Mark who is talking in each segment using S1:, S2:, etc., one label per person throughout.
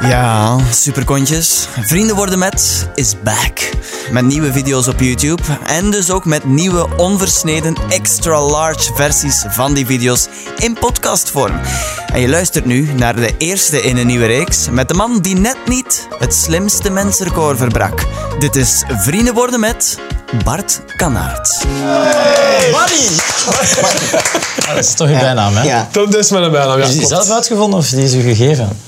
S1: Ja, superkontjes. Vrienden worden met is back. Met nieuwe video's op YouTube en dus ook met nieuwe onversneden extra large versies van die video's in podcastvorm. En je luistert nu naar de eerste in een nieuwe reeks met de man die net niet het slimste mensenrecord verbrak. Dit is Vrienden worden met Bart Kanaert.
S2: Dat is toch je bijnaam, hè?
S3: Ja.
S4: Dat is mijn bijnaam, ja.
S2: Is die
S4: klopt.
S2: zelf uitgevonden of die is u gegeven?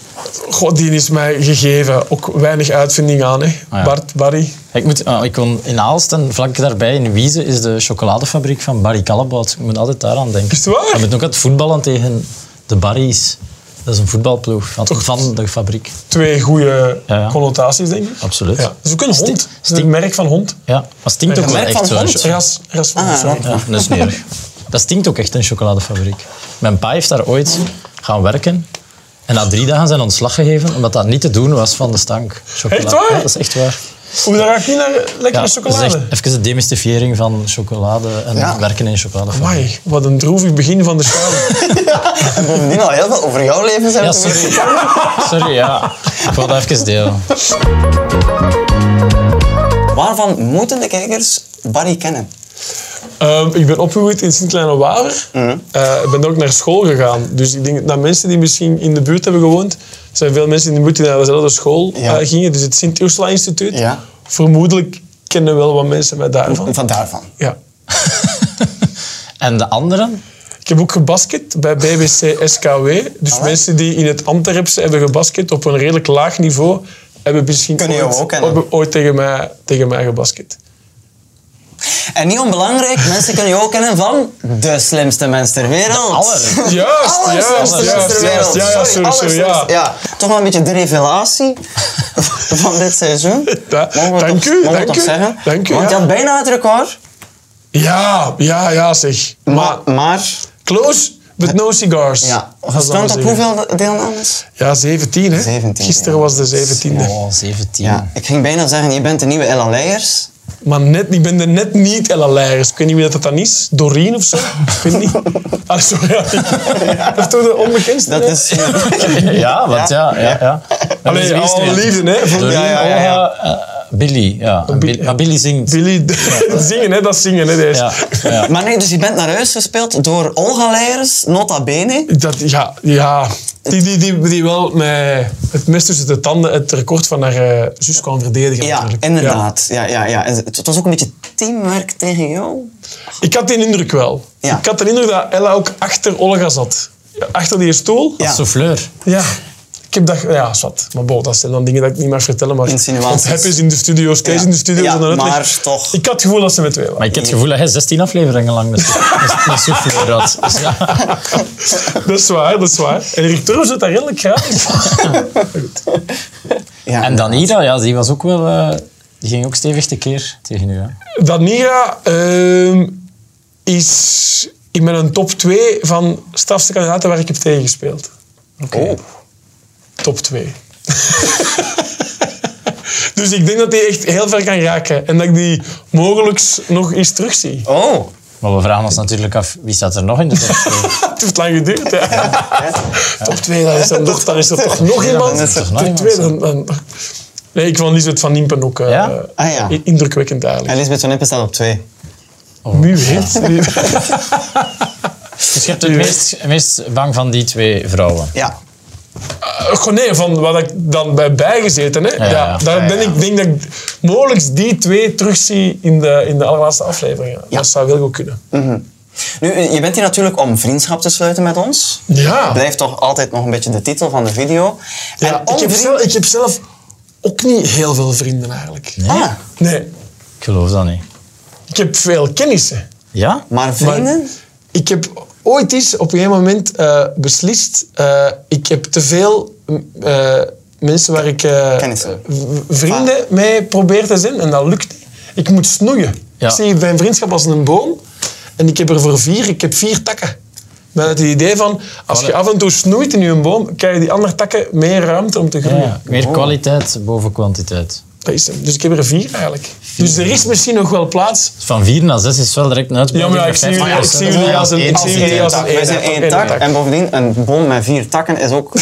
S4: God, die is mij gegeven. Ook weinig uitvinding aan, hè.
S2: Ah, ja.
S4: Bart, Barry.
S2: Ik, moet, ah, ik woon in Aalst en vlak daarbij in Wieze is de chocoladefabriek van Barry Callebout. Ik moet altijd daaraan denken.
S4: Is het waar?
S2: Ik moet ook aan het voetballen tegen de Barry's. Dat is een voetbalploeg van, van de fabriek.
S4: Twee goede
S2: Ja, ja.
S4: connotaties, denk ik.
S2: Absoluut.
S4: Ja. Dat is ook een
S2: Sti-
S4: hond. Dat is
S2: sti-
S4: een merk van hond.
S2: Ja, maar stinkt ook wel
S3: merk
S2: echt
S3: van
S2: zo.
S3: hond?
S2: Ja,
S4: Ras, ras van hond.
S3: Ah.
S2: dat is smerig. Dat stinkt ook echt een chocoladefabriek. Mijn pa heeft daar ooit gaan werken. En na drie dagen zijn ontslag gegeven, omdat dat niet te doen was van de stank. Chocolade.
S4: Echt waar?
S2: Ja, dat is echt waar.
S4: Hoe daar ga ik niet naar lekkere
S2: Ja,
S4: chocolade?
S2: dat is echt even de demystifiering van chocolade en
S3: Ja.
S2: werken in chocolade.
S4: Amai, wat een droevig begin van de schade.
S3: En bovendien al heel veel over jouw leven zijn
S2: Ja,
S3: we te
S2: sorry.
S3: weten.
S2: Sorry, ja. Ik wil dat even delen.
S3: Waarvan moeten de kijkers Barry kennen?
S4: Ehm, ik ben opgegroeid in Sint-Kleine-Waver.
S3: Mhm.
S4: Eh, ik ben daar ook naar school gegaan. Dus ik denk dat mensen die misschien in de buurt hebben gewoond... Er zijn veel mensen in de buurt die naar dezelfde school
S3: Ja.
S4: eh, gingen. Dus het Sint-Ursula-instituut.
S3: Ja.
S4: Vermoedelijk kennen wel wat mensen mij daarvan.
S3: Van daarvan.
S4: Ja.
S2: En de anderen?
S4: Ik heb ook gebasket bij BBC SKW. Dus
S3: Allee.
S4: mensen die in het Antwerpse hebben gebasket op een redelijk laag niveau, hebben misschien
S3: Kunnen jou
S4: ooit,
S3: ook kennen.
S4: hebben ooit tegen, mij, tegen mij gebasket.
S3: En niet onbelangrijk, mensen kunnen je ook kennen van de slimste mens ter wereld.
S2: Allen.
S4: Juist, juist,
S3: Allerslimste mens ter
S4: juist, juist.
S3: wereld.
S4: Ja, ja, sorry, sorry, ja.
S3: allerslimste. ja. Toch wel een beetje de revelatie van dit seizoen.
S4: Da-
S3: Mogen we
S4: dank
S3: toch-
S4: u,
S3: mogen we
S4: dank
S3: toch
S4: u,
S3: zeggen?
S4: dank u,
S3: Want je
S4: ja.
S3: had bijna het record,
S4: Ja, ja, ja, zeg. Maar
S3: maar... maar
S4: close, but no cigars.
S3: ja.
S4: Dat is dan
S3: Gestond op
S4: zeker.
S3: hoeveel deelnames?
S4: Ja, 17, hè.
S3: 17,
S4: Gisteren
S3: ja.
S4: was de 17e.
S2: Oh, 17.
S3: Ja, ik ging bijna zeggen, je bent de nieuwe Ella Leijers.
S4: Maar net, ik ben er net niet Ella Leijers. Ik weet niet wie dat dan is. Doreen of zo? Ik weet niet. Ah, sorry. ja. Dat is toch de onbekendste?
S3: Dat
S4: hè?
S3: is...
S2: Ja, want ja, ja, ja. Maar
S4: Allee,
S2: wie is het
S4: al
S2: weer?
S4: liefde, hè. Voor
S2: Doreen,
S3: oh, Ja, ja, ja, ja.
S2: Olga, eh, Billy, ja. En Bill- maar Billy zingt.
S4: Billy, zingen, hè? Dat is zingen, hè? Deze.
S2: Ja, ja.
S3: Maar nee, dus je bent naar huis gespeeld door Olga Leijers, nota bene.
S4: Dat, ja, ja. Die, die, die, die wel met het mes tussen de tanden het record van haar eh, zus kwam verdedigen.
S3: Ja,
S4: natuurlijk.
S3: inderdaad. Ja. Ja, ja, En het het was ook een beetje teamwerk tegen jou.
S4: Ja. Ik had die indruk wel.
S3: Ja.
S4: Ik had de indruk dat Ella ook achter Olga zat. Ja, Achter die stoel.
S3: Ja.
S2: Souffleur.
S4: Ja. Ik heb dat... Ja, zwart. Maar bon, dat zijn dan dingen dat ik niet mag vertellen. Maar
S3: Insinuaties.
S4: Want Hep is in de studio, Kees
S3: Ja.
S4: in de studio.
S3: Ja,
S4: en dan uitleg.
S3: maar toch.
S4: Ik had het gevoel dat ze met twee waren.
S2: Maar ik heb het gevoel dat hij 16 afleveringen lang een sou- een souffleur had. Dus ja.
S4: Dat is waar, dat is waar. En Erik Turf zit daar redelijk graag.
S3: Ja,
S2: En Danira, ja, die was ook wel... eh, die ging ook stevig tekeer tegen u, hè.
S4: Danira ehm, is in mijn top 2 van strafste kandidaten waar ik heb tegengespeeld.
S3: Oh.
S4: Top 2. dus ik denk dat die echt heel ver kan raken. En dat ik die mogelijk nog eens terugzie.
S3: Oh.
S2: Maar we vragen ons natuurlijk af, wie staat er nog in de top twee?
S4: Het heeft lang geduurd, hè. Top 2, dan is er, nog, dan is er toch nog
S2: Ja,
S4: iemand.
S2: dan is er nog
S4: Top
S2: iemand,
S4: twee, dan, dan- Nee, ik vond Lisbeth van Nimpen ook eh,
S2: Ja?
S3: Ah, ja.
S4: indrukwekkend eigenlijk.
S3: Elisabeth van Impen staat op twee.
S4: Nu heet.
S2: Dus je hebt het meest, meest bang van die twee vrouwen.
S3: Ja.
S4: Eh, Goh, nee, van wat ik dan bij bijgezeten. Hè? Ja,
S2: ja, ja.
S4: daar
S3: Ja,
S4: ben
S3: ja.
S4: ik denk dat ik mogelijk die twee terugzie in de, in de allerlaatste afleveringen. Dat zou wel goed kunnen.
S3: Nu, eh, je bent hier natuurlijk om vriendschap te sluiten met ons.
S4: Ja.
S3: Blijft toch altijd nog een beetje de titel van de video.
S4: ja ik, heb
S3: onvriend-
S4: zelf, ik heb zelf ook niet heel veel vrienden eigenlijk.
S3: Ah,
S4: Nee,
S2: Ik geloof dat niet.
S4: ik heb veel kennissen.
S2: Ja?
S3: maar
S4: Maar
S3: vrienden?
S4: ik heb ooit eens op een gegeven moment eh, beslist... eh, ik heb te veel m, eh, mensen waar ik eh,
S3: Kennissen. Ah.
S4: v- vrienden mee probeer te zijn. En dat lukt niet. Ik moet snoeien.
S2: Ja.
S4: Ik zie mijn vriendschap als een boom. En ik heb er voor vier, ik heb vier takken. Met het idee van, als je af en toe snoeit in je boom, krijg je die andere takken meer ruimte om te
S2: Ja,
S4: groeien.
S2: ja. Meer kwaliteit boven kwantiteit.
S4: Dat is hem. Dus ik heb er vier eigenlijk. Dus er is misschien nog wel plaats.
S2: Van 4 naar 6 is wel direct een
S4: Ja,
S2: uitbreiding.
S4: maar ja, ik zie jullie- ik zie jullie als een- ik zie jullie als een
S3: Wij zijn
S4: tak.
S3: één tak.
S4: Eén tak.
S3: En bovendien, een boom met vier takken is ook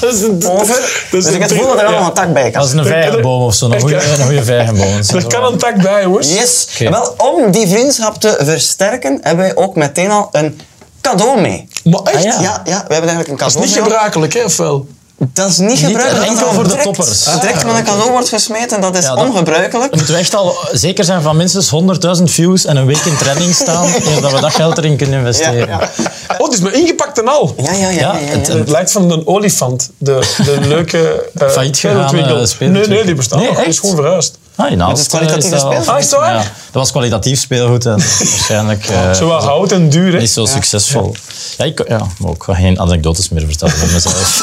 S4: Dat is een
S3: over.
S4: dat is
S3: Dus ik heb het
S4: een-
S3: gevoel dat er
S4: ja.
S3: allemaal een tak bij
S2: Dat
S3: kan.
S2: is een vijgenboom of zo. Een goede een goede vijgenboom. Dat is
S4: Er
S2: wel-
S4: kan een tak bij, jongens.
S3: Yes.
S2: Oké.
S3: En Wel, om die vriendschap te versterken, hebben wij ook meteen al een cadeau mee.
S4: Maar echt?
S2: Ah,
S3: Ja,
S2: ja.
S3: ja, we hebben eigenlijk een cadeau
S4: Dat is niet
S3: mee al.
S4: gebruikelijk, hè, of wel?
S3: Dat is niet gebruikelijk.
S2: enkel
S3: dat dat
S2: voor de
S3: direct-
S2: toppers.
S3: Direct met een cadeau wordt gesmeten, dat is
S2: Ja, dat-
S3: ongebruikelijk.
S2: Dan moeten we echt al zeker zijn van minstens 100.000 views en een week in training staan, eer dat we dat geld erin kunnen
S3: Ja,
S2: investeren.
S3: ja.
S4: Oh, het is maar ingepakt en al.
S3: Ja, ja, ja. ja,
S2: Ja,
S3: ja,
S2: het-
S3: ja.
S4: Het eh, lijkt van een olifant, de, de leuke eh,
S2: Failliet gegaan,
S4: speelgoedwinkel.
S2: eh,
S4: Nee,
S2: speelgoedwinkel.
S4: nee, die bestaat
S2: Nee,
S4: nog. Die is
S2: echt?
S4: gewoon verhuisd.
S2: Ah, in Aalst,
S3: Maar het is kwalitatief
S2: eh, dat
S3: gespeeld.
S2: al-
S4: Ah, is het waar?
S2: Ja, dat was kwalitatief speelgoed en waarschijnlijk eh,
S4: Zowel hout en duur, hè.
S2: niet zo succesvol. Ja, ik, ja, maar ook geen anekdotes meer vertellen van mezelf.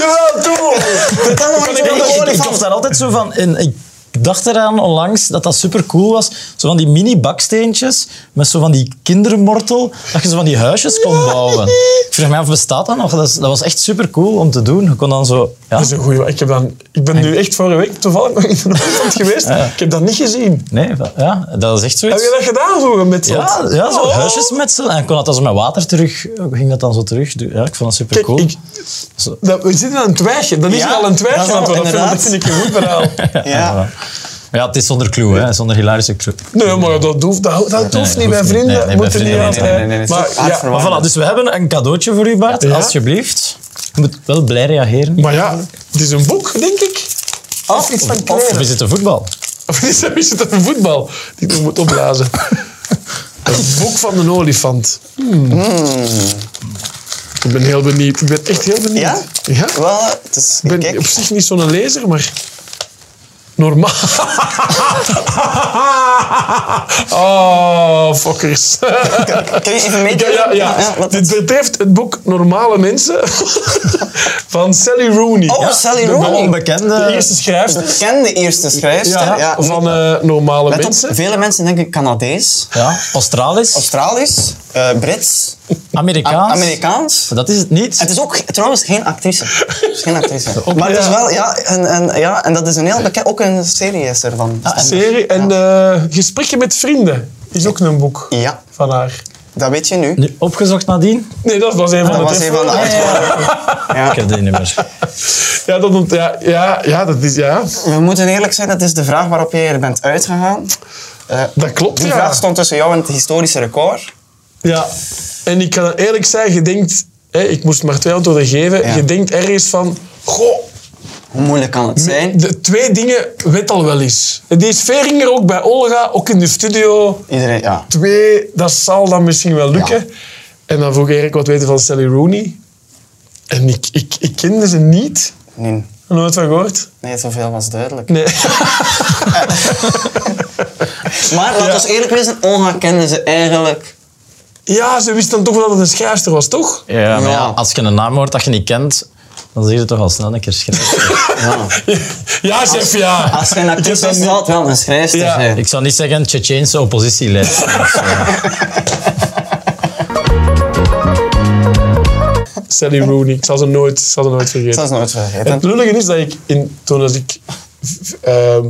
S3: Jawel, doe! Ah, Vertel nog iets
S2: Ik,
S3: over de
S2: ik, ik
S3: olifant.
S2: dacht daar altijd zo van. En ik dacht eraan onlangs dat dat super cool was. Zo van die mini baksteentjes met zo van die kindermortel. Dat je zo van die huisjes kon bouwen. Ik vraag me af, bestaat dat nog? Dat, is- dat was echt super cool om te doen. Je kon dan zo. Ja,
S4: Dat is een goeie. Ik, heb dan, ik ben nu echt vorige week toevallig nog in een olifant geweest. Ik heb dat niet gezien.
S2: nee, va- ja, dat Oh. is echt
S4: Heb
S2: zoiets.
S4: je dat gedaan zo met
S2: Ja, ja, zo huisjes metselen. En kon dat dan zo met water terug. Ging dat dan zo terug? doen. Ja, ik vond dat super
S4: Kijk,
S2: cool.
S4: ik, dat, we zitten aan een twijgje. Dan is
S3: Ja,
S4: er al een
S3: dat is
S4: twijgje aan het
S3: wel,
S4: worden. Dat vind ik een goed verhaal.
S3: Ja.
S2: Maar ja, het is zonder clue, hè? zonder hilarische clue.
S4: Nee, maar dat hoeft, dat, dat
S2: Nee,
S4: hoeft
S2: hoeft
S4: niet. Mijn
S2: niet. Nee, nee,
S4: vrienden
S2: bij
S4: moeten niet
S2: vrienden
S4: aan
S2: niet.
S3: Nee, nee, nee, nee, het is
S4: Maar, ja,
S3: hartverwarmend.
S2: Maar voilà, dus we hebben een cadeautje voor u, Bart.
S4: Ja.
S2: Alsjeblieft. Je moet wel blij reageren.
S4: maar ja, het is een boek, denk ik. Of iets van
S2: Of
S4: kleren.
S2: is het een voetbal?
S4: Of is het- is het een voetbal die ik nog moet opblazen? Het boek van een olifant. Hmm. Ik ben heel benieuwd. Ik ben echt heel benieuwd.
S3: Ja?
S4: Ja?
S3: Wel, het is...
S4: Ik ben
S3: kijk.
S4: op zich niet zo'n lezer, maar... Normaal. oh, fokkers.
S3: Kun je even meedoen?
S4: ja, ja,
S3: ja,
S4: ja.
S3: wat-
S4: Dit betreft het boek Normale Mensen van Sally Rooney.
S3: Oh,
S4: Ja.
S3: Sally
S4: de-
S2: Een
S3: Rooney.
S4: De
S2: onbekende.
S4: eerste schrijfster.
S3: Bekende eerste schrijfster.
S4: Ja,
S3: Ja,
S4: van eh, Normale
S3: Let op,
S4: Mensen.
S3: vele mensen denken Canadees,
S2: Ja, Australisch,
S3: Australisch, eh, Brits, A-
S2: Amerikaans.
S3: Amerikaans.
S2: Dat is het niet.
S3: Het is ook trouwens geen actrice. Het is geen actrice.
S4: Ook,
S3: maar het is
S4: ja.
S3: wel, ja, en, en, ja, en dat is een heel bekend, ook een serie is ervan.
S2: Ah, en-
S4: serie. En eh, Gesprekken met Vrienden is ook een boek
S3: Ja,
S4: van haar.
S3: dat weet je nu.
S2: Nu opgezocht nadien?
S4: Nee, dat was een van
S3: Dat
S4: de
S3: was een van de
S4: trefwoorden.
S3: antwoorden.
S2: Ik heb die niet meer.
S4: Ja, dat, ont- ja, ja, ja, dat is... Ja,
S3: We moeten eerlijk zijn, dat is de vraag waarop jij er bent uitgegaan. Eh,
S4: dat klopt,
S3: die
S4: ja.
S3: vraag stond tussen jou en het historische record.
S4: Ja. En ik kan eerlijk zeggen, je denkt... Hè, ik moest maar twee antwoorden geven.
S3: Ja.
S4: Je denkt ergens van... Goh,
S3: Hoe moeilijk kan het zijn?
S4: de twee dingen weet al wel eens. En Die is Veringer ook bij Olga, ook in de studio.
S3: Iedereen, ja.
S4: Twee, dat zal dan misschien wel lukken. En dan vroeg Erik wat weten van Sally Rooney. En ik, ik, ik kende ze niet.
S3: Nee,
S4: Nooit van gehoord.
S3: nee, zoveel was duidelijk.
S4: Nee.
S3: Maar laten we eerlijk wezen, Olga kende ze eigenlijk.
S4: Ja, ze wist dan toch wel dat het een schrijfster was, toch?
S2: Ja, maar ja,
S3: Ja.
S2: als je een naam hoort dat je niet kent, dan zie je het toch al snel een keer schrijven.
S3: Ja.
S4: Ja, chef, ja.
S3: Als je een
S4: Ik heb
S3: actrice
S4: dat
S3: is,
S4: niet-
S3: zal het wel een schrijfster
S4: Ja.
S3: zijn.
S2: Ik zou niet zeggen Tsjetsjeense oppositielid.
S4: Sally Rooney, ik zal ze nooit, ik zal ze nooit
S3: Ik zal
S4: vergeten.
S3: ze nooit vergeten.
S4: Het lullige is dat ik, in, toen als ik... v- ehm,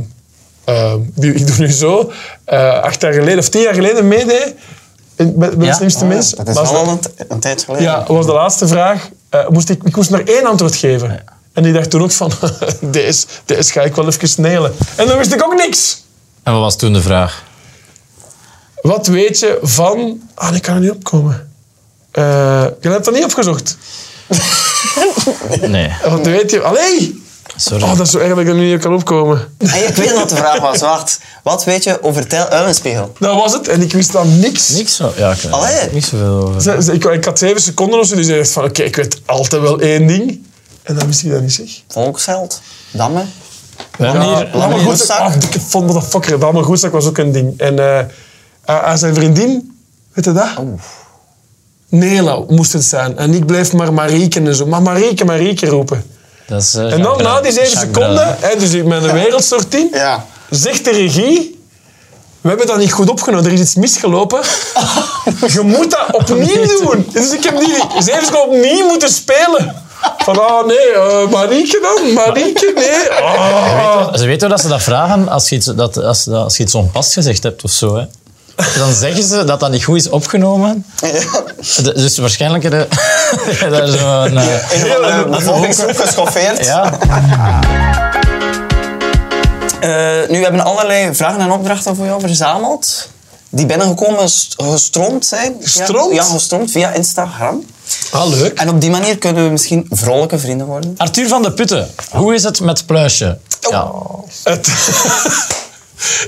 S4: ehm, die- ik doe nu zo, eh, acht jaar geleden of tien jaar geleden meedeed in- bij, bij de
S2: Ja.
S4: slimste mens.
S3: Oh, Dat is
S4: was
S3: al een, t- een tijd geleden.
S4: ja, was de laatste vraag. eh, moest ik, ik moest maar één antwoord geven. En die dacht toen ook van, deze, deze ga ik wel even snelen. En dan wist ik ook niks.
S2: En wat was toen de vraag?
S4: Wat weet je van... Ah, ik kan er niet opkomen. Eh je hebt dat niet opgezocht.
S2: Nee,
S4: Wat weet je... Allee!
S2: sorry.
S4: Oh, dat is zo erg dat ik er niet op kan opkomen.
S3: En ik weet wat de vraag was. Wacht, wat weet je over eh, Tijl Uilenspiegel?
S4: Dat was het. En ik wist dan niks.
S2: Niks zo... Ja, ik weet
S3: Allee.
S2: er niet zoveel over.
S4: Ze- ze- ik, ik had zeven seconden of zo. Dus ik dacht van, oké, ik weet altijd wel één ding. En dan wist ik dat niet, zeg.
S3: Volksheld, Damme.
S2: Wanneer,
S4: Ja, Lamme
S3: wanneer-
S4: Goedzak. Ah, ik vond dat fucker. Lamme Goedzak was ook een ding. En eh, aan aan zijn vriendin, weet je dat? Nela moest het zijn. En ik bleef maar Marieke en zo. Maar Marieke, Marieke roepen.
S2: dat is, eh,
S4: En dan
S2: Jacques
S4: na die zeven
S2: Jacques
S4: seconden,
S2: Brel.
S4: hè, dus ik ben de wereld stort in,
S3: Ja.
S4: zegt de regie... We hebben dat niet goed opgenomen, er is iets misgelopen. Je moet dat opnieuw doen. Dus ik heb die zeven seconden opnieuw moeten spelen. Van, ah nee, eh, Marieke dan? Marieke, nee. Ah.
S2: Ze weten dat ze dat vragen als je iets, dat, als, dat- als je iets onpast gezegd hebt of zo. Hè. Dus Dan zeggen ze dat dat niet goed is opgenomen. De- dus waarschijnlijk heb je daar zo'n... eh,
S3: Een bevolkingsgroep geschoffeerd.
S2: ja.
S3: Eh, nu hebben we allerlei vragen en opdrachten voor jou verzameld. Die binnengekomen st- gestroomd zijn. via-
S4: Gestroomd?
S3: Ja, gestroomd via Instagram.
S4: Ah, leuk.
S3: En op die manier kunnen we misschien vrolijke vrienden worden.
S2: Arthur van de Putten, hoe is het met Pluisje?
S4: Oh.
S2: Ja.
S4: Het-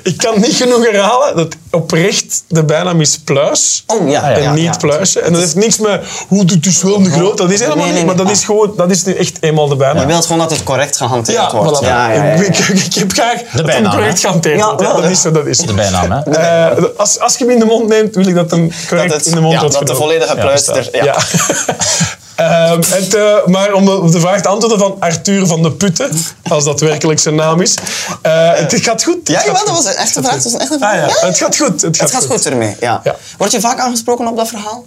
S4: ik kan niet genoeg herhalen dat oprecht de bijnaam is Pluis.
S3: Oh, ja.
S4: en
S3: ja,
S4: niet
S3: ja.
S4: Pluisje. En dat heeft niks met hoe het is wel een groot. Dat is helemaal
S3: Nee, nee,
S4: niet. Maar dat
S3: nee.
S4: is gewoon, dat is nu echt eenmaal de bijnaam.
S3: Je wilt gewoon dat het correct gehanteerd
S4: Ja,
S3: wordt.
S4: voilà.
S3: Ja, ja, ja,
S4: Ik, ik, ik heb graag dat hem
S2: bijnaam,
S4: correct
S2: hè?
S4: gehanteerd
S3: Ja,
S4: wordt. hè.
S3: wel,
S4: dat
S3: ja.
S4: is zo, dat is zo.
S2: De bijnaam, hè?
S4: Eh, als, als je hem in de mond neemt, wil ik dat hem correct
S3: Dat het-
S4: in de mond
S3: ja,
S4: wordt
S3: dat de
S4: genomen.
S3: volledige pluister, Dus, ja.
S4: Ehm, het, eh, maar om de- op de vraag te antwoorden van Arthur van de Putten, als dat werkelijk zijn naam is. eh, het gaat goed. Het
S3: Ja,
S4: gaat
S3: jawel, dat
S4: goed.
S3: was een echte vraag. Dat was een echte
S4: Ah,
S3: vraag.
S4: ja. Het gaat goed. Het gaat,
S3: Het gaat goed ermee, ja.
S4: Ja.
S3: Word je vaak aangesproken op dat verhaal?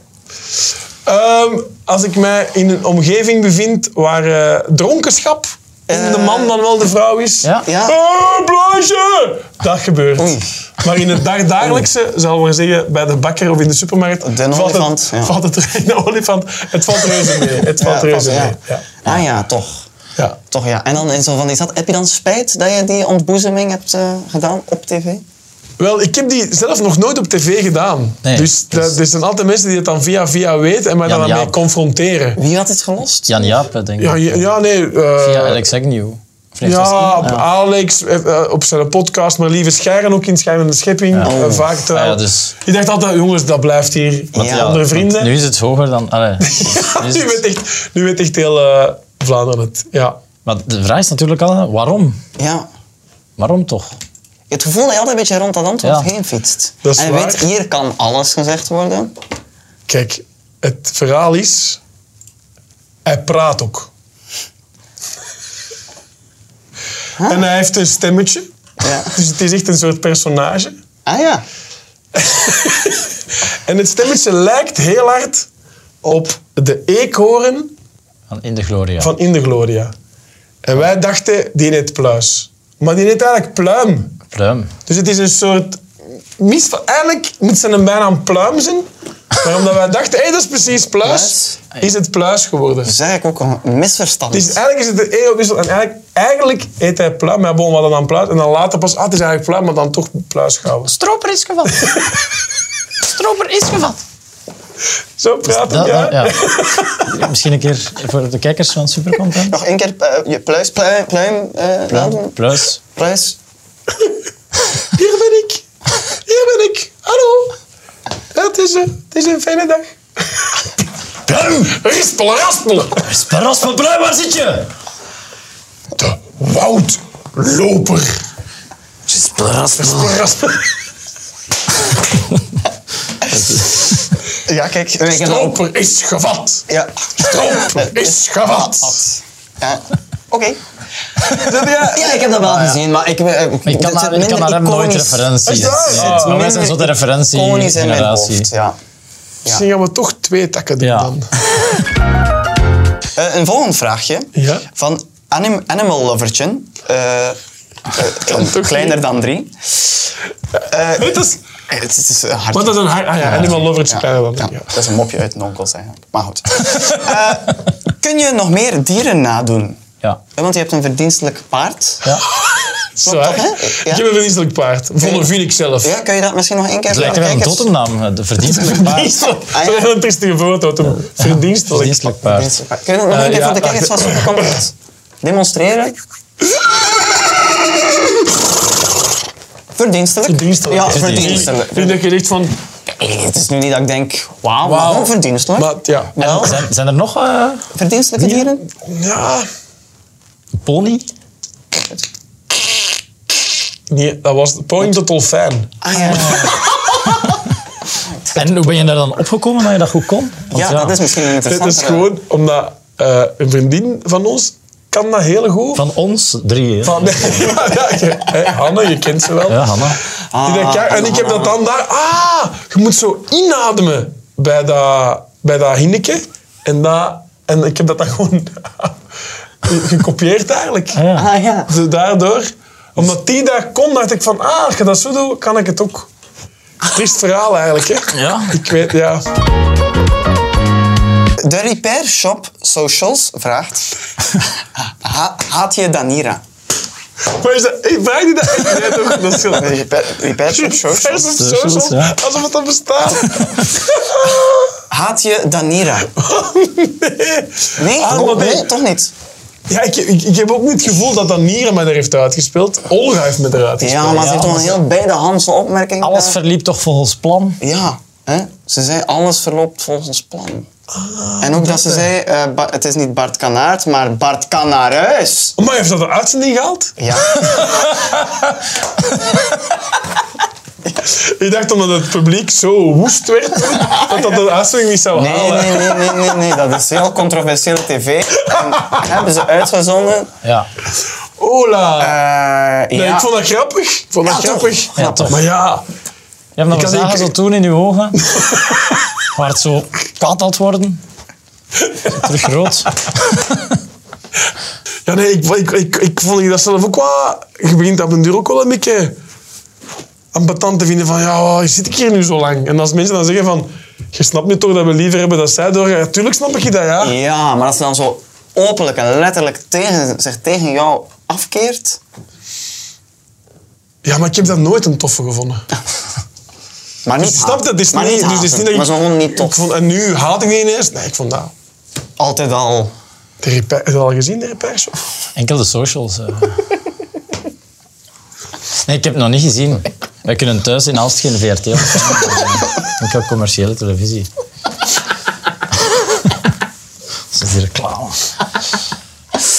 S4: Ehm, als ik mij in een omgeving bevind waar eh, dronkenschap in de man dan wel de vrouw is.
S2: Ja.
S3: Eh. Ja.
S4: Eh, blaasje! Dat gebeurt.
S3: Oei.
S4: Maar in het dagdagelijkse, zal maar zeggen, bij de bakker of in de supermarkt...
S3: De
S4: valt
S3: olifant,
S4: het,
S3: ja.
S4: valt het er- de olifant. Het valt reuze mee. Het valt
S3: Ja,
S4: reuze
S3: vast,
S4: mee. Ja.
S3: ja. Ah ja, toch.
S4: Ja.
S3: Toch ja. En dan in zo van die stad, heb je dan spijt dat je die ontboezeming hebt eh, gedaan op tv?
S4: Wel, ik heb die zelf nog nooit op tv gedaan.
S2: Nee,
S4: dus
S2: dat is-
S4: dat- er zijn altijd mensen die het dan via via weten en mij
S2: Jan
S4: daarmee
S2: Jaap.
S4: confronteren.
S3: Wie had dit gelost?
S2: Jan Jaap, denk ik.
S4: Ja, ja, ja, nee... eh,
S2: Via Alex Agnew. Of nee, het was
S4: Ja,
S2: iemand-
S4: op Alex, eh, eh, op zijn podcast, maar lieve Schijren ook in Schijnende Schepping. eh, vaak trouw.
S2: Ah, ja, dus-
S4: Ik dacht altijd, jongens, dat blijft hier
S3: ja,
S4: onder
S2: want
S4: vrienden.
S2: Nu is het hoger dan... allee. Nu is
S4: nu,
S2: het-
S4: weet echt, nu weet echt heel eh, Vlaanderen het. Ja.
S2: maar de vraag is natuurlijk al, waarom?
S3: Ja.
S2: Waarom toch?
S3: Het gevoel dat je altijd een beetje rond dat antwoord
S2: Ja.
S3: heen fietst.
S4: Dat is
S3: en je
S4: waar.
S3: weet, hier kan alles gezegd worden.
S4: Kijk, het verhaal is... Hij praat ook. En hij heeft een stemmetje.
S3: Ja.
S4: Dus het is echt een soort personage.
S3: Ah ja.
S4: En het stemmetje lijkt heel hard op de eekhoorn
S2: Van In de Gloria.
S4: van In de Gloria. En wij dachten, die heet Pluis. Maar die heet eigenlijk Pluim.
S2: Pluim.
S4: Dus het is een soort... Mis, eigenlijk moet zijn een bijnaam Pluim zijn. Maar omdat wij dachten, hé, dat is precies Pluis, is het Pluis geworden.
S3: Dat is eigenlijk ook een misverstand.
S4: Dus eigenlijk is het een eeuwwissel. En eigenlijk, eigenlijk heet hij Pluim. Maar bon, we hadden dan Pluis. En dan later pas, ah, het is eigenlijk Pluim, maar dan toch Pluis gehouden.
S2: Stroper is gevat. Stroper is gevat.
S4: Zo praat ik,
S2: Dat,
S4: ja.
S2: ja. Misschien een keer voor de kijkers van Supercontent.
S3: Nog één keer eh, je pluis, pluim, pluim, eh, nadoen.
S2: Plus,
S3: pluis.
S4: Hier ben ik. Hier ben ik. Hallo. Ja, het, is, eh, het is een fijne dag. Pluim, rispelen, raspelen.
S2: Sparras van Pluim, waar zit je?
S4: De woudloper.
S3: Ja, kijk. eh, Ik heb dat ook.
S4: Stroper is gevat.
S3: Ja.
S4: Stroper is gevat.
S3: ja. Oké. Ja, ik heb dat wel gezien, maar ik... eh,
S2: Ah, Ik kan
S3: het
S2: naar, ik
S3: minder
S2: kan naar hem nooit
S3: iconisch- Ah,
S2: referenties.
S4: Is dat?
S2: Ja,
S4: Het
S2: maar wij zijn zo'n
S3: minder
S2: referentie
S3: Iconisch in mijn
S2: generatie.
S3: hoofd, ja.
S4: Misschien Dus gaan we toch twee takken doen
S2: Ja.
S4: dan.
S3: Eh, een volgend vraagje.
S4: Ja.
S3: Van anim Animal Lovertje. Eh, eh, kleiner dan drie.
S4: Hey, dat is,
S3: Eh, Het is, het is een hard.
S4: maar dat is een hard... Ah ja, Animal Lover's
S3: Ja,
S4: kleiner dan.
S3: ja,
S4: Ja.
S3: dat is een mopje uit Nonkels eigenlijk. Maar goed. Eh, kun je nog meer dieren nadoen?
S2: Ja.
S3: Eh, Want je hebt een verdienstelijk paard.
S2: Ja.
S4: Zo, hè?
S3: hè? Ja.
S4: Ik heb een verdienstelijk paard. Volle vind ik zelf.
S3: Ja, kun je dat misschien nog één keer
S2: Het lijkt wel een
S3: kijkers-
S2: totemnaam. De verdienstelijk paard.
S4: Zo,
S3: Ah, ja.
S4: dat is een triestige voorbeeld. een Verdienstelijk.
S2: Verdienstelijk paard.
S3: Verdienstelijk paard. Ah, Kun je dat nog
S4: Eh,
S3: één keer
S4: ja,
S3: voor de
S4: wacht.
S3: kijkers van Supercomplex demonstreren? Verdienstelijk.
S4: Verdienstelijk.
S3: Ja, verdienstelijk.
S4: Nu dat je echt van...
S3: Eh, Het is nu niet dat ik denk, wauw, maar wel verdienstelijk.
S4: Maar, ja.
S3: Wel,
S2: Zijn, zijn er nog eh,
S3: verdienstelijke dieren?
S4: Ja.
S2: pony?
S4: Nee, dat was... Point de dolfijn.
S3: Ah ja.
S2: En hoe ben je daar dan opgekomen dat je dat goed kon? Want
S3: ja, dat is misschien een
S4: Het
S3: interessante.
S4: is gewoon omdat eh, een vriendin van ons kan dat heel goed.
S2: Van ons drieën.
S4: Van, ja, ja, je- hè, Hanne, je kent ze wel.
S2: Ja, Hanna.
S4: Die denkt, ja, en ik heb dat dan daar... Ah, je moet zo inademen bij dat, bij dat hinneke. En dat En ik heb dat dan gewoon gekopieerd eigenlijk.
S2: Ah, ja.
S3: Ah ja.
S4: Dus daardoor, omdat die daar kon, dacht ik van, ah, als je dat zo doet, kan ik het ook. Triest verhaal eigenlijk, hè?
S2: Ja.
S4: Ik weet, ja.
S3: De Repair Shop Socials vraagt... Ha- haat je Danira?
S4: Maar is dat, ik vraag die dat echt Nee, toch? Dat is gewoon...
S3: Repair, repair Shop Socials?
S4: Vers op
S2: Socials,
S4: socials,
S2: ja.
S4: alsof het dan bestaat.
S3: Haat je Danira? Nee,
S4: Ah,
S3: oh,
S4: maar
S3: nee,
S4: nee.
S3: toch niet?
S4: Ja, ik, ik, ik heb ook niet het gevoel dat dat Nieren mij daar heeft uitgespeeld. Olga heeft me eruit gespeeld.
S3: Ja, maar ze heeft toch een
S2: alles-
S3: heel bijdehandse opmerking.
S2: Alles
S3: daar.
S2: verliep toch volgens plan?
S3: Ja, hè? ze zei alles verloopt volgens plan.
S4: Ah,
S3: en ook dat ze zei, eh, Ba- het is niet Bart Kanaert, maar Bart Kanareus.
S4: Maar heeft dat de uitzending gehaald?
S3: Ja,
S4: Ik dacht omdat het publiek zo woest werd, dat dat de uitzending niet zou
S3: nee,
S4: halen.
S3: nee, nee, nee, nee, nee, dat is heel controversiële tv. En hebben ze uitgezonden.
S2: Ja.
S4: Ola!
S3: Eh,
S4: nee,
S3: ja.
S4: ik vond dat grappig. Ik vond dat
S3: Ja, toch?
S4: grappig.
S2: Ja, toch.
S4: Maar ja,
S2: Ja, maar
S4: Ik
S2: we
S4: had
S2: zagen
S4: een keer-
S2: zo toen in uw ogen. waar het zo kwaad had worden. Zo terug rood.
S4: ja nee, ik, ik, ik, ik vond dat zelf ook wel... Je begint op een duur ook wel een beetje ambetant te vinden van... Ja, waar zit ik hier nu zo lang? En als mensen dan zeggen van... Je snapt nu toch dat we liever hebben dat zij doorgaan? Ja, tuurlijk snap ik je dat, ja.
S3: ja, maar als ze dan zo openlijk en letterlijk tegen, zich tegen jou afkeert.
S4: Ja, maar ik heb dat nooit een toffe gevonden.
S3: Maar niet
S4: Ik snap dat, dit is
S3: maar
S4: niet... dus het is niet
S3: haten,
S4: dat ik,
S3: maar zo gewoon niet
S4: Ik
S3: tof.
S4: vond, en nu haat ik die ineens? Nee, ik vond dat...
S3: Altijd al.
S4: De repair, heb je al gezien, de repairs?
S2: Enkel de socials. eh. Nee, ik heb het nog niet gezien. Wij kunnen thuis in Aalst geen VRT dus, opnemen. Ook al eh, commerciële televisie. Dat is die reclame.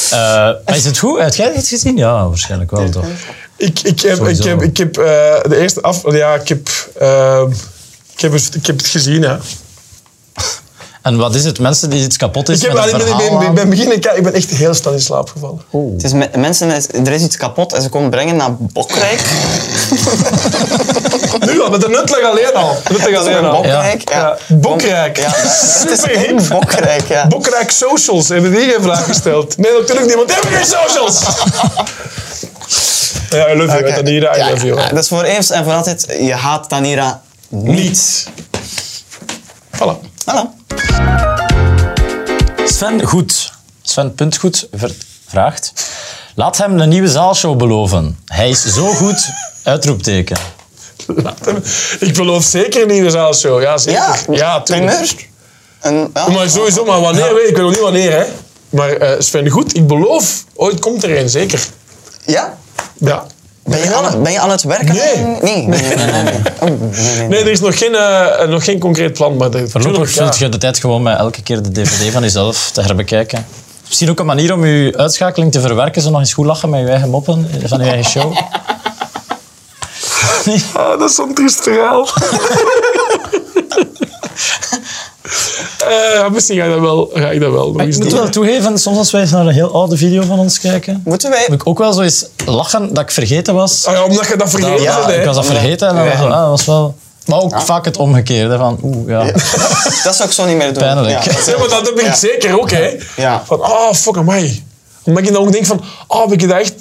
S2: Eh, maar is het goed? Heb jij het gezien? Ja, waarschijnlijk wel, toch?
S4: Ik, ik heb, ik
S2: Sowieso.
S4: heb, ik heb eh, de eerste af... Ja, ik heb, eh, ik heb, het- ik heb het gezien, hè.
S2: En wat is het? Mensen die iets kapot is
S4: Ik heb,
S2: met
S4: nou,
S2: een
S4: ik ben, ik
S2: verhaal
S4: ben,
S2: aan?
S4: ik ben beginnen kijken, ik ben echt heel snel in slaap gevallen.
S3: Het is me- mensen, is- er is iets kapot en ze komen brengen naar Bokrijk.
S4: Nu al, met een nutleg alleen al. Nutleg
S3: Dat is ook
S4: alleen
S3: een
S4: al.
S3: Bokrijk. Ja.
S4: Ja, Bokrijk.
S3: Ja, dat is
S4: Superhip.
S3: een Bokrijk, ja.
S4: Bokrijk socials, hebben die geen vraag gesteld? Nee, natuurlijk niemand. Hebben geen socials? ja, I love you,
S3: Oké.
S4: okay. Danira, I
S3: Ja,
S4: love you.
S3: ja, Dat is voor eens en voor altijd. Je haat Danira niet.
S4: Voilà.
S3: Hallo.
S2: Sven Goed. Sven Puntgoed ver- vraagt. Laat hem een nieuwe zaalshow beloven. Hij is zo goed. Uitroepteken.
S4: Laat hem. Ik beloof zeker een nieuwe zaalshow. Ja, zeker.
S3: Ja,
S4: ja tuurlijk.
S3: primeur. Een, Ah, ja.
S4: Maar sowieso, maar wanneer? Weet ik weet nog niet wanneer, hè. Maar eh, Sven, goed, ik beloof, ooit komt er een, zeker.
S3: ja?
S4: Ja.
S3: Ben je, aan, ben je aan het werken?
S4: Nee.
S3: Nee, nee, nee. nee, nee. Oh, nee, nee, nee.
S4: Nee, er is nog geen, eh, nog geen concreet plan, maar... dat-
S2: Voorlopig
S4: tuurlijk, ja.
S2: vult je de tijd gewoon met elke keer de dvd van jezelf te herbekijken. Misschien ook een manier om je uitschakeling te verwerken. Zo nog eens goed lachen met je eigen moppen van je eigen show.
S4: Ah, dat is zo'n triest verhaal. Eh, ja, misschien ga ik dat wel, ga ik dat wel nog eens
S2: Ik moet
S4: doen.
S2: wel toegeven, soms als wij eens naar een heel oude video van ons kijken,
S3: Moeten wij...
S2: moet ik ook wel zo eens lachen dat ik vergeten was.
S4: Ah, ja, omdat je dat vergeten
S2: Ja,
S4: hebt, hè.
S2: ik was dat vergeten en dan
S3: Ja.
S2: dacht ik, ah, dat was wel... Maar ook vaak het omgekeerde van, oeh, ja.
S3: Dat zou ik zo niet meer doen.
S2: Pijnlijk.
S3: Ja, dat is-
S4: Ja, maar dat heb ik
S3: Ja.
S4: zeker ook, hè.
S3: Ja.
S4: Van, ah, fuck, amai. Omdat ik dan ook denk van, ah, heb ik het echt...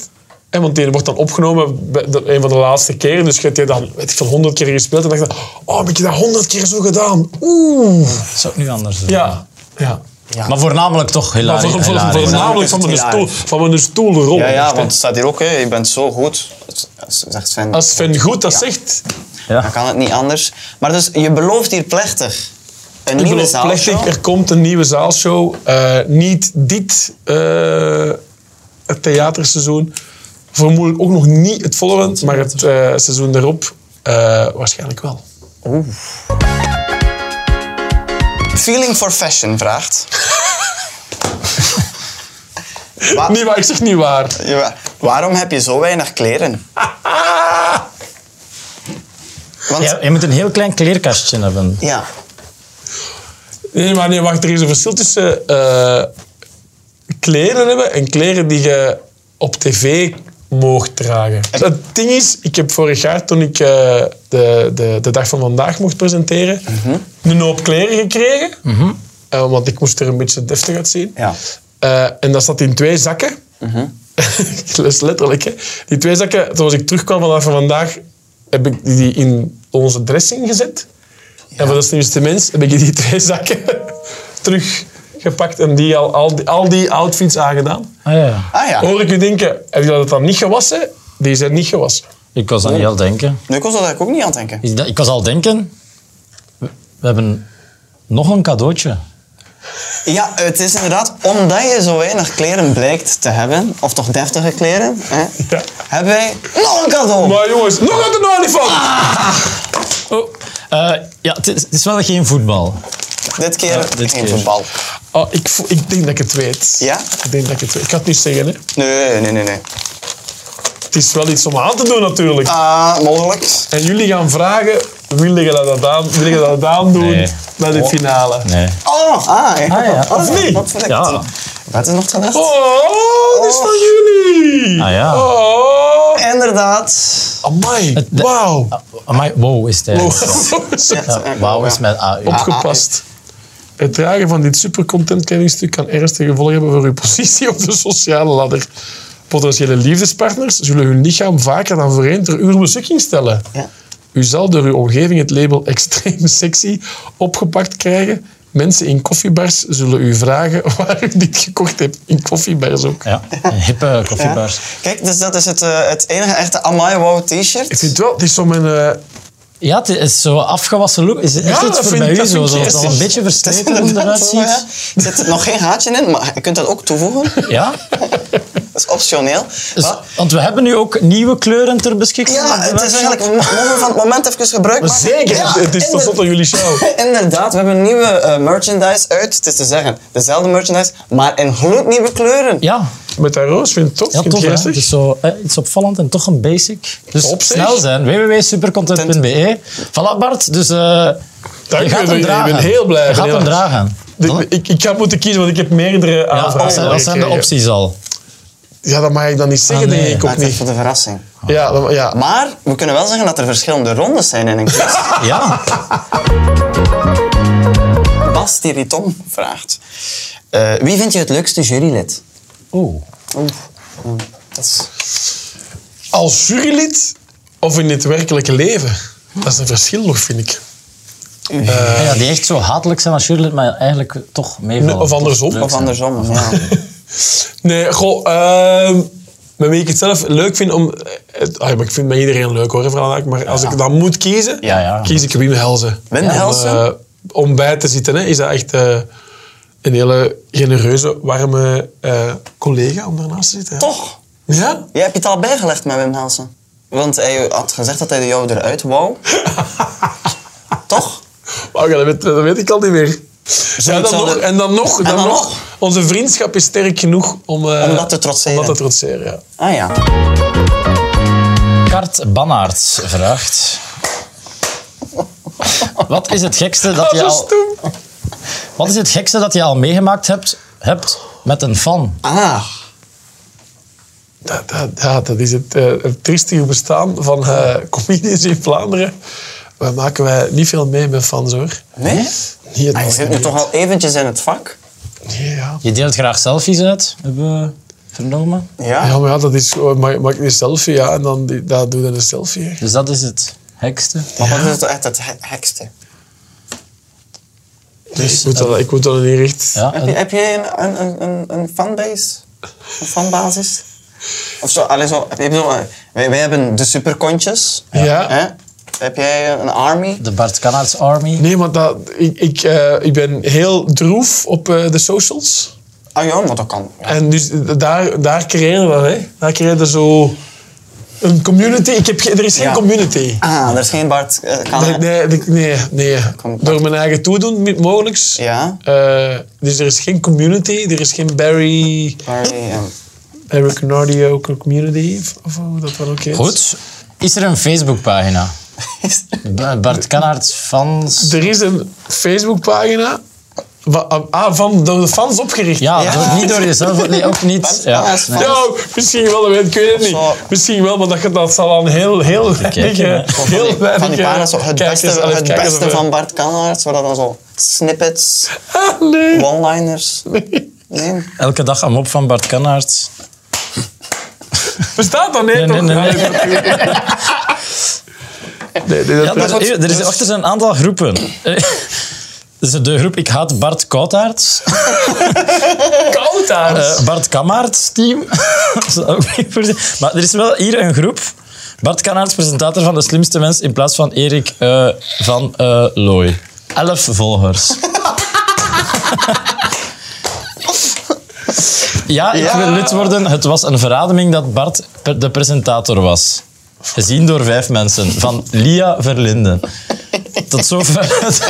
S4: En want die wordt dan opgenomen bij de- een van de laatste keren. Dus je hebt die dan, weet ik veel, honderd keer gespeeld. En dan dacht ik, oh, heb ik dat honderd keer zo gedaan? Oeh.
S2: Dat zou ik nu anders doen.
S4: Ja. ja.
S2: Maar voornamelijk toch
S4: Maar
S2: hilarisch.
S4: voor, voor,
S2: hilarisch.
S4: voornamelijk van mijn stoel, van mijn stoel rollen.
S3: ja,
S4: echt,
S3: ja,
S4: hè.
S3: want het staat hier ook, hè. je bent zo goed. Zegt Sven.
S4: Als Sven goed dat zegt,
S3: Dan kan het niet anders. Maar dus, je belooft hier plechtig een
S4: Ik
S3: nieuwe
S4: beloof
S3: zaal.
S4: plechtig, er komt een nieuwe zaalshow. Eh, niet dit eh, het theaterseizoen. Vermoedelijk ook nog niet het volgende, maar het eh, seizoen daarop eh, waarschijnlijk wel.
S3: Feeling for Fashion vraagt. Wa-
S4: Niet waar, ik zeg niet waar.
S3: Jawel. waarom heb je zo weinig kleren? Want, ja.
S2: Ja, je moet een heel klein kleerkastje hebben.
S4: Nee, maar nee, wacht, er is een verschil tussen eh, kleren hebben en kleren die je op tv moogt dragen. Het ding is, ik heb vorig jaar, toen ik eh, de, de, de dag van vandaag mocht presenteren, een hoop kleren gekregen. Eh Eh, want ik moest er een beetje deftig uitzien.
S3: Ja.
S4: Eh, en dat zat in twee zakken. Dat is letterlijk, hè. Die twee zakken, toen ik terugkwam vanaf van vandaag, heb ik die in onze dressing gezet. En voor de slimste mens heb ik die twee zakken teruggepakt en die al, al, die, al die outfits aangedaan.
S2: Ah, ja.
S3: Ah ja,
S4: Hoor ik u denken, heb je dat dan niet gewassen? Die zijn niet gewassen.
S2: Ik was aan niet al denken.
S3: nu kon dat eigenlijk ook niet aan het denken.
S2: Is dat- Ik was al denken, we- we hebben nog een cadeautje.
S3: Ja, het is inderdaad omdat je zo weinig kleren blijkt te hebben, of toch deftige kleren, hè,
S4: Ja.
S3: hebben wij nog een cadeau.
S4: Maar jongens, nog uit de olifant! Oh,
S2: Eh, ja, het is, het is wel geen voetbal.
S3: Dit keer
S2: dit
S3: geen
S2: keer.
S3: voetbal.
S4: oh ik, voel- ik denk dat ik het weet.
S3: Ja?
S4: Ik denk dat ik het weet. Ik ga het niet zeggen, hè.
S3: Nee, nee, nee. nee.
S4: Het is wel iets om aan te doen, natuurlijk.
S3: Ah, mogelijk.
S4: En jullie gaan vragen, wil je dat aan, wil je dat aan doen
S2: Nee.
S4: bij de finale?
S2: Nee.
S3: Oh, ah, ja.
S2: Ah, ja.
S4: Of niet?
S3: Wat verrekt.
S2: Ja.
S3: Dat is nog te laat.
S4: Oh, dit is van jullie!
S2: Ah, ja.
S4: Oh,
S3: Inderdaad.
S4: amai, wauw.
S2: Amai, wow is het
S4: Wow.
S2: eigenlijk. Ja, Wauw is met AU.
S4: Opgepast. Het dragen van dit supercontent kledingstuk kan ernstige gevolgen hebben voor uw positie op de sociale ladder. Potentiële liefdespartners zullen hun lichaam vaker dan voorheen ter uur beschikking stellen.
S3: Ja.
S4: U zal door uw omgeving het label extreem sexy opgepakt krijgen. Mensen in koffiebars zullen u vragen waar u dit gekocht hebt. In koffiebars ook.
S2: Ja, een hippe
S3: Ja.
S2: koffiebars.
S3: Kijk, dus dat is het, eh, het enige echte Amai Wow
S4: Ik
S3: t-shirt.
S4: vind wel, het is zo mijn... eh,
S2: Ja, het is zo afgewassen look. Is het echt
S4: Ja,
S2: iets
S4: dat
S2: voor
S4: vind-
S2: mij?
S4: dat
S2: Zo,
S4: vind
S2: dat
S4: ik
S2: het
S4: echt
S2: al een
S4: zo-
S2: beetje
S3: Het is
S2: versleten
S3: inderdaad
S2: eruit
S3: zo, ja.
S2: ziet.
S3: Er zit nog geen gaatje in, maar je kunt dat ook toevoegen.
S2: Ja,
S3: Dat is optioneel.
S2: dus-
S3: Maar-
S2: want we hebben nu ook nieuwe kleuren ter beschikking.
S3: ja, het is eigenlijk... we Mogen we van het moment even gebruik maken?
S4: Zeker,
S3: Ja,
S4: het is tot slot aan jullie show.
S3: Inderdaad, we hebben nieuwe eh, merchandise uit. Het is te zeggen, dezelfde merchandise, maar in gloednieuwe kleuren.
S2: Ja,
S4: Met dat roos vind ik het tof.
S2: ja
S4: vind ik
S2: tof. hè.
S4: geestig.
S2: Het is zo, eh, iets opvallend en toch een basic. Dus
S4: Top, zeg.
S2: snel zijn. www.supercontent.be Voilà Bart, dus eh, je
S4: Dank
S2: gaat hem
S4: u, ik ben
S2: dragen.
S4: heel blij.
S2: Je gaat
S4: heel
S2: hem
S4: erg.
S2: dragen.
S4: De- ik, ik ga moeten kiezen, want ik heb meerdere
S2: Ja,
S4: aanvragen.
S2: wat zijn, wat zijn de
S4: gekregen.
S2: opties al?
S4: Ja, dat mag ik dan niet zeggen,
S2: Ah, nee.
S4: denk ik
S3: Maar
S4: ook
S3: het is
S4: niet.
S3: voor de verrassing.
S4: Ja, dat- ja.
S3: Maar we kunnen wel zeggen dat er verschillende rondes zijn in een quiz.
S2: Ja.
S3: Bas die Riton vraagt. eh, wie vind je het leukste jurylid?
S2: Oeh.
S3: Dat is...
S4: Als jurylid of in het werkelijke leven? Dat is een verschil nog, vind ik.
S2: Ja, ja, die echt zo hatelijk zijn als Shirley, maar eigenlijk toch meevallen.
S4: Nee, of andersom.
S2: Leuk
S3: Of
S2: zijn.
S3: andersom. Ja.
S4: Nee, goh, ehm, met wie ik het zelf leuk vind om... Het, ah, maar ik vind bij iedereen leuk hoor, vooral eigenlijk. Maar als ik dan moet kiezen,
S2: Ja, ja.
S4: kies ik Wim Helzen.
S3: Wim
S4: Om,
S3: Helzen?
S4: eh, om bij te zitten, hè, is dat echt eh, een hele genereuze, warme eh, collega om daarnaast te zitten. hè.
S3: Toch?
S4: Ja?
S3: Jij hebt je het al bijgelegd met Wim Helsen. Want hij had gezegd dat hij jou eruit wou. Toch?
S4: Oh, ja, dat, weet, dat weet ik al niet meer. Ja, dan
S3: zouden-
S4: nog, en dan nog, dan
S3: dan
S4: nog.
S3: nog.
S4: Onze vriendschap is sterk genoeg om, eh,
S3: Om dat te trotseren.
S4: om dat te trotseren, ja.
S3: Ah ja.
S2: Kart Bannaerts vraagt... Wat is het gekste dat
S4: Ah,
S2: je
S4: zo
S2: al...
S4: stoem.
S2: Wat is het gekste dat je al meegemaakt hebt, hebt met een fan?
S3: Ah.
S4: Dat, dat, ja, dat is het, eh, het triestige bestaan van eh comedians in Vlaanderen. Wij maken wij niet veel mee met fans, hoor.
S3: Nee?
S4: Niet het
S3: Hij zit nu
S4: algemeen.
S3: toch al eventjes in het vak?
S4: Nee, ja.
S2: Je deelt graag selfies uit, hebben we vernomen.
S3: Ja.
S4: ja, maar ja, dat is... oh, Maak, maak een selfie, ja. En dan die, daar doe je dan een selfie. hè.
S2: Dus dat is het hekste.
S3: Maar wat is toch echt het he- hekste?
S4: Nee,
S3: Dus,
S4: ik, moet
S3: eh,
S4: dat, ik moet dat niet echt...
S2: Ja,
S3: Heb, je,
S2: en-
S3: heb jij een, een- een, een, een fanbase? Een fanbasis? Of zo, allee, zo, heb je zo, eh, wij, wij hebben de superkontjes.
S4: Ja.
S3: Hè? Heb jij een army?
S2: de Bart Kanaerts Army.
S4: Nee, want dat, ik, ik, eh, ik ben heel droef op eh, de socials.
S3: Ah ja, maar dat kan. Ja.
S4: En dus daar, daar creëren we dat, hè. Daar creëren we zo... Een community... Ik heb, ge- er is geen
S3: Ja.
S4: community.
S3: Ah, er is geen Bart. eh, kan-
S4: Nee, nee, nee, nee, nee.
S3: Kom.
S4: Door mijn eigen toedoen, niet mogelijk.
S3: Ja.
S4: Eh, dus er is geen community, er is geen Barry...
S3: Barry en-
S4: Barry Canardio community, of, of hoe dat dan ook heet.
S2: Goed. Is er een Facebookpagina? B- Bart Kanaerts fans...
S4: Er is een Facebookpagina Va- ah, van door de fans opgericht.
S2: Ja,
S3: Ja.
S2: door- niet door jezelf. Nee, ook niet. Ja.
S3: Fans,
S2: Nee.
S3: fans.
S4: Ja, misschien wel, ik weet het niet.
S3: Zo.
S4: Misschien wel, maar dat, ge- dat zal aan heel, heel weinig...
S2: hè.
S4: eh, Heel weinig,
S3: Van die
S4: eh,
S3: paar, zo het
S4: kijkers-
S3: beste,
S4: allee,
S3: het
S4: kijkers
S3: beste
S4: of-
S3: van Bart Kanaert, zodat dan zo snippets,
S4: Ah, nee.
S3: one-liners. Nee.
S2: Elke dag aan mop van Bart Kannaert.
S4: Bestaat dat? Nee,
S2: Nee,
S4: toch?
S2: nee, nee,
S4: Allee, nee, nee,
S2: Ja, dus-
S4: dat-
S2: er, er
S4: dat-
S2: is achter zijn een aantal groepen. Dus de groep Ik haat Bart Koutaerts,
S4: koud daar.
S2: eh, Bart Kammaerts team. Dat is ook weer voor- maar er is wel hier een groep. Bart Kanaerts, presentator van De Slimste Mens, in plaats van Erik eh, van eh Looy. Elf volgers. ja, ik wil lid worden. Het was een verademing dat Bart per- de presentator was. Gezien door vijf mensen. Van Lia Verlinden. Tot zover het,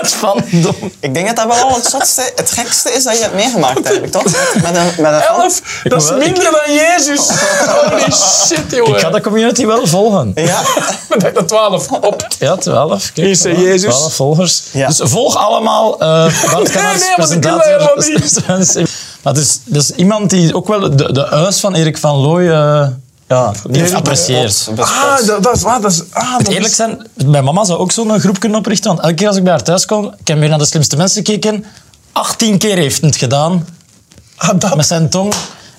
S2: het fandom.
S4: Oh,
S3: Ik denk dat dat wel al het zotste, het gekste is dat je hebt meegemaakt eigenlijk, toch? Met met een, met een fan.
S4: Elf, dat is
S2: wel- ik-
S4: minder dan Jezus. Holy shit, jongen.
S2: Ik ga de community wel volgen.
S3: Ja,
S4: Ik dacht dat twaalf op.
S2: Ja, 12. Kijk,
S4: Hier zijn
S2: voilà,
S4: Jezus.
S2: 12 volgers.
S3: Ja.
S2: Dus volg allemaal eh Bart
S4: nee,
S2: Kanaerts,
S4: want ik wil dat
S2: presentator.
S4: helemaal niet.
S2: Slimste Mens. maar dus, dus iemand die ook wel de, de huis van Erik van Looy eh, ja, niet
S4: Erik-
S2: apprecieert.
S4: Ah, dat, dat is waar. Dat is, ah, dat
S2: Eerlijk
S4: is,
S2: zijn, mijn mama zou ook zo'n groep kunnen oprichten. Want elke keer als ik bij haar thuis kom, ik heb weer naar de slimste mensen gekeken. 18 keer heeft hij het gedaan.
S4: ah, dat,
S2: Met zijn tong.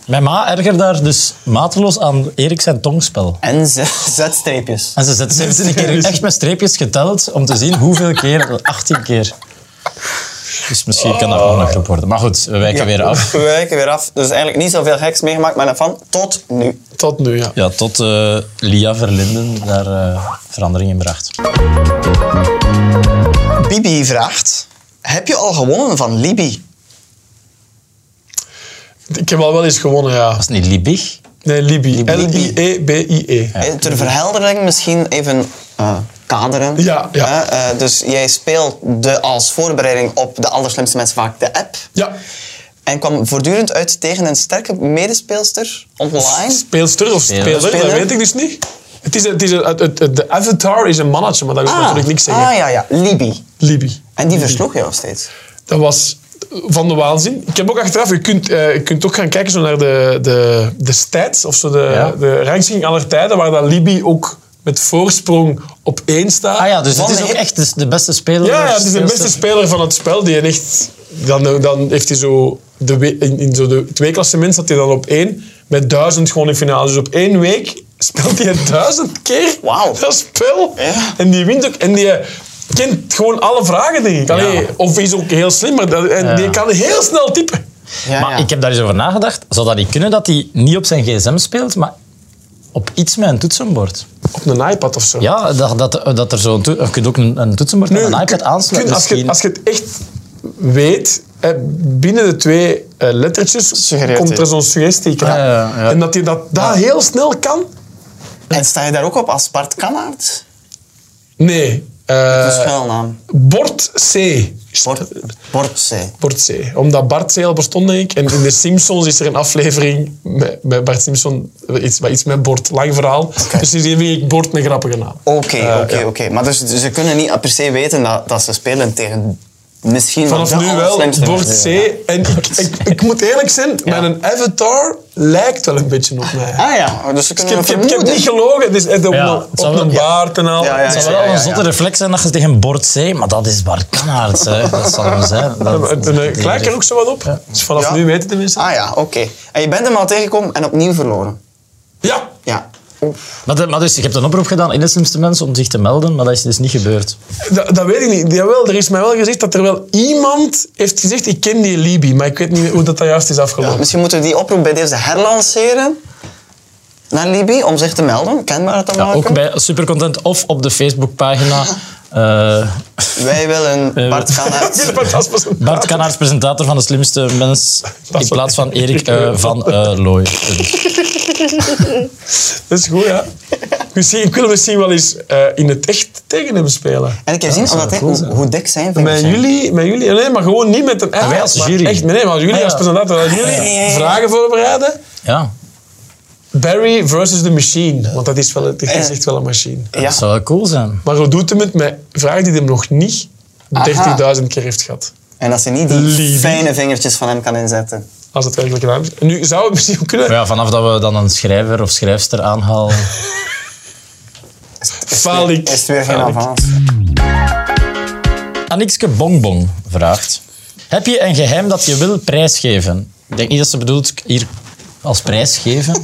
S2: Mijn ma erger daar dus mateloos aan Erik zijn tongspel.
S3: en z- zetstreepjes.
S2: En ze zet 17 keer echt met streepjes geteld om te zien hoeveel keer. 18 keer. Dus misschien kan dat ook een groep worden. Maar goed, we wijken weer af.
S3: We wijken weer af. Dus eigenlijk niet zoveel geks meegemaakt met een fan tot nu.
S4: tot nu, ja.
S2: Ja, tot eh, Lia Verlinden daar eh, verandering in bracht.
S3: Bibi vraagt, heb je al gewonnen van Libi?
S4: Ik heb al wel eens gewonnen, ja.
S2: Was het niet Liebig?
S4: Nee, Libi.
S3: Libi.
S4: E L-I-E-B-I-E.
S3: Eh, Ter verheldering misschien even eh, kaderen.
S4: Ja, ja.
S3: Eh, eh, dus jij speelt de, als voorbereiding op de allerslimste mensen vaak de app.
S4: Ja.
S3: En kwam voortdurend uit tegen een sterke medespeelster online.
S4: Speelster of speler, dat
S3: Speler.
S4: weet ik dus niet. Het is, het is, het, het- het- de avatar is een mannetje, maar dat wil natuurlijk niks zeggen.
S3: ah ja, ja. Libi.
S4: Libi.
S3: En die versloeg jou steeds.
S4: Dat was van de waanzin. Ik heb ook achteraf, je kunt, eh, je kunt ook gaan kijken zo naar de, de, de stats, of zo de,
S2: Ja.
S4: de rangschikking aller tijden, waar dat Libi ook met voorsprong op één staat.
S2: Ah ja, dus
S3: Van
S2: het is
S3: de-
S2: ook echt de, de beste speler.
S4: Ja, ja, het is de beste speler van het spel. Die een echt, dan, dan heeft hij zo de, we- in, in zo de twee klassement zat hij dan op één met duizend gewoon in finale. Dus op één week speelt hij duizend keer
S3: Wauw.
S4: dat spel.
S3: Ja.
S4: En die wint ook. En die eh, kent gewoon alle vragen, denk ik. Allee,
S2: Ja.
S4: Of is ook heel slim, maar dat- en
S2: Ja.
S4: die kan heel snel typen.
S3: Ja,
S2: maar
S3: ja.
S2: ik heb daar eens over nagedacht. Zou dat niet kunnen dat hij niet op zijn gsm speelt, maar op iets met een toetsenbord?
S4: Op een iPad of zo.
S2: Ja, dat, dat, dat er zo'n... toet- Je kunt ook een, een toetsenbord
S4: Nu,
S2: aan een iPad
S4: kun-
S2: aansluiten.
S4: kun- Als je,
S2: misschien.
S4: als je het echt weet, eh, binnen de twee eh, lettertjes
S3: Suggereert
S4: komt
S3: hij.
S4: er zo'n suggestie.
S2: ja, ja.
S4: En dat je dat, dat heel snel kan.
S3: En sta je daar ook op als Bart Kannaert?
S4: Nee.
S3: De
S4: eh
S3: schuilnaam.
S4: Bord C.
S3: Bort, Bortse.
S4: Bord C. Omdat Bart C al bestond, denk ik. En in de Simpsons is er een aflevering met, met Bart Simpson. eh, Iets, maar iets met Bord. Lang verhaal. Dus die vind ik Bord een grappige naam. Eh,
S3: Oké, oké, oké. Maar dus ze kunnen niet per se weten dat, dat ze spelen tegen misschien wel
S4: Vanaf
S3: de
S4: nu wel
S3: allerslimste
S4: Bord C.
S3: mensen. Ja.
S4: En ik, ik, ik moet eerlijk zijn, mijn avatar lijkt wel een beetje op mij.
S3: Ah ja, dus ze
S4: Ik
S3: kunnen
S4: heb, ik heb- ik heb
S3: vermoeden.
S4: niet gelogen. Het is echt op,
S2: Ja,
S4: een-
S2: het
S4: op
S2: zou wel-
S4: een
S2: ja.
S4: baard en al.
S3: Ja, ja,
S2: Het
S3: ja.
S2: zou wel een zotte reflex zijn dat je tegen een bord zee, maar dat is Bart Kanaerts, hè. Dat zal hem zijn. Dat,
S4: En, en, eh, Klaak er ook zo wat op. Dus vanaf
S3: Ja.
S4: nu weten de mensen.
S3: Ah ja, oké. En je bent hem al tegengekomen en opnieuw verloren.
S4: Ja,
S3: Ja.
S2: Maar, de- maar dus, je hebt een oproep gedaan in de slimste mensen om zich te melden, maar dat is dus niet gebeurd.
S4: Dat, dat weet ik niet. Jawel, er is mij wel gezegd dat er wel iemand heeft gezegd, ik ken die Libi, maar ik weet niet meer hoe dat, dat juist is afgelopen.
S3: Misschien moeten we die oproep bij deze herlanceren naar Libi om zich te melden, kenbaar te
S2: Ja,
S4: Ah,
S3: maken.
S2: ook bij Supercontent of op de Facebookpagina. eh
S3: Wij willen Bart Kannaert.
S4: Maar dat is pas een-
S2: Bart Kanaerts, presentator van de slimste mens, in
S4: is
S2: plaats van
S4: wel-
S2: Erik eh, van eh Looy.
S4: Dat is goed, ja. Misschien, ik wil misschien wel eens eh, in het echt tegen hem spelen.
S3: En ik heb gezien omdat hij-
S2: cool
S3: hoe,
S2: zijn.
S3: hoe dik zijn vingers
S4: Met
S3: zijn.
S4: jullie, met jullie, nee, maar gewoon niet met een app.
S2: wij als
S4: maar
S2: Ah, jury.
S4: Echt, nee, maar als jullie
S2: Ah, ja.
S4: als presentator, als jullie vragen voorbereiden.
S2: Ja,
S4: Barry versus the machine, want dat is, wel, het is echt wel een machine.
S3: Ja.
S2: dat zou wel cool zijn.
S4: Maar hoe doet hem het met vragen die hem nog niet 13.000 keer heeft gehad?
S3: En dat ze niet die
S4: Lieve.
S3: fijne vingertjes van hem kan inzetten.
S4: Als het werkelijk een naam is. Nu zou het misschien ook kunnen.
S2: Maar ja, vanaf dat we dan een schrijver of schrijfster aanhalen...
S4: Faal ik.
S3: Is het weer geen
S4: Faal ik.
S3: avans?
S2: Anikske Bongbong vraagt. Heb je een geheim dat je wil prijsgeven? Ik denk niet dat ze bedoelt hier als prijs geven,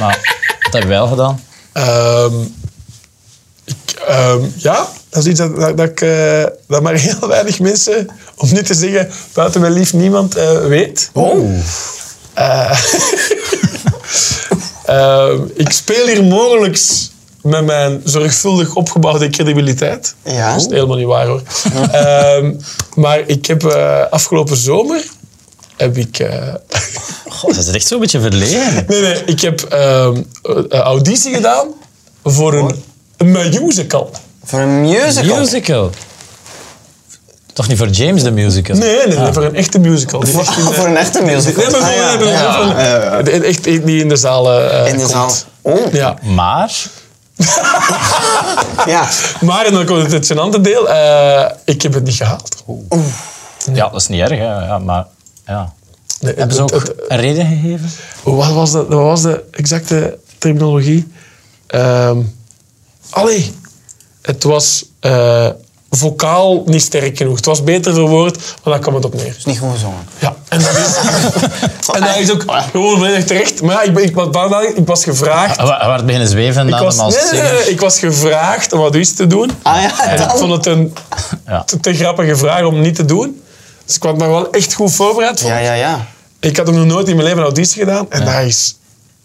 S2: maar dat hebben wij al gedaan.
S4: Ehm, ik, ehm, ja, dat is iets dat, dat, dat ik, eh, dat maar heel weinig mensen, om niet te zeggen buiten mijn lief niemand, eh, weet.
S2: Oh.
S4: Ehm, ik speel hier mogelijk met mijn zorgvuldig opgebouwde credibiliteit.
S3: Ja.
S4: Dat is helemaal niet waar hoor. Ehm, maar ik heb eh, afgelopen zomer. Heb ik, eh,
S2: God, dat is echt zo'n beetje verlegen.
S4: nee, nee, ik heb ehm, eh, auditie gedaan voor een, een musical.
S3: Voor een musical.
S2: Musical. Toch niet voor James de musical?
S4: Nee, nee, nee, voor een echte musical. Die echt in, eh,
S3: Ah. Voor een echte musical.
S4: Nee, maar
S3: Ah,
S4: voor-
S3: ja.
S4: nee, maar
S3: Ja,
S4: voor-
S3: ja, ja.
S4: de- Echt die in de zaal eh,
S3: In de
S4: komt.
S3: zaal. Oh,
S4: Ja.
S2: Maar
S3: ja.
S4: Maar, en dan komt het gênante deel, eh, ik heb het niet gehaald.
S2: Ja, dat is niet erg, hè. Ja, maar ja.
S4: Nee,
S2: Hebben ze
S4: het-
S2: ook
S4: het-
S2: een reden gegeven?
S4: wat, was de, wat was de exacte terminologie? Ehm allee, het was eh, vocaal niet sterk genoeg. Het was beter verwoord, maar daar kwam het op neer.
S3: Niet goed gezongen.
S4: Ja, en dat is, en dat is ook
S3: Ah.
S4: gewoon volledig terecht. Maar ja, ik, ben- ik, was- ik was gevraagd...
S2: Hij Ah, wa- hij werd beginnen zweven
S4: Ik
S2: na
S4: was,
S2: hem als
S4: nee, nee, nee,
S2: zinger.
S4: ik was gevraagd om auditie te doen.
S3: Ah ja,
S4: En ik
S3: dan.
S4: vond het een
S2: Ja.
S4: te, te grappige vraag om niet te doen. Dus ik was me wel echt goed voorbereid. vond
S3: Ja,
S4: ik.
S3: ja, ja.
S4: Ik had hem nog nooit in mijn leven een auditie gedaan. En dat is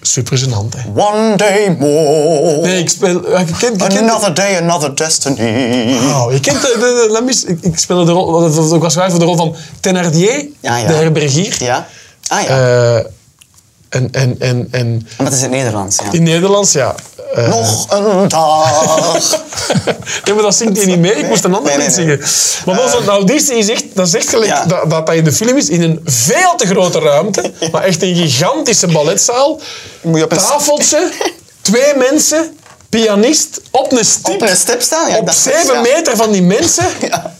S4: super gênant. Hè.
S3: One day more.
S4: Nee, ik speel... ja, Je kent,
S3: Oh,
S4: je kent,
S3: Another day, another destiny.
S4: oh, je kent de, de, de- laat me eens- ik, ik speelde de rol... want het- Ik was gewaagd voor de rol van Thénardier,
S3: Ja, ja.
S4: de herbergier.
S3: Ja. Ah ja.
S4: Eh, en, en, en, en
S3: Maar dat is in het Nederlands, ja.
S4: in Nederlands, ja. eh,
S3: Nog een dag.
S4: Nee, maar dat zingt hij niet mee. Ik moest een ander
S3: Nee, nee,
S4: lied
S3: nee. Eh.
S4: zingen. Maar als een auditie is echt, dat is echt gelijk
S3: Ja.
S4: dat, dat dat in de film is, in een veel te grote ruimte, maar echt een gigantische balletzaal.
S3: Moet je op een st-
S4: Tafeltje, twee mensen, pianist, op een stip.
S3: Op een stip staan, ja.
S4: op
S3: dat is-
S4: zeven
S3: ja.
S4: meter van die mensen.
S3: Ja.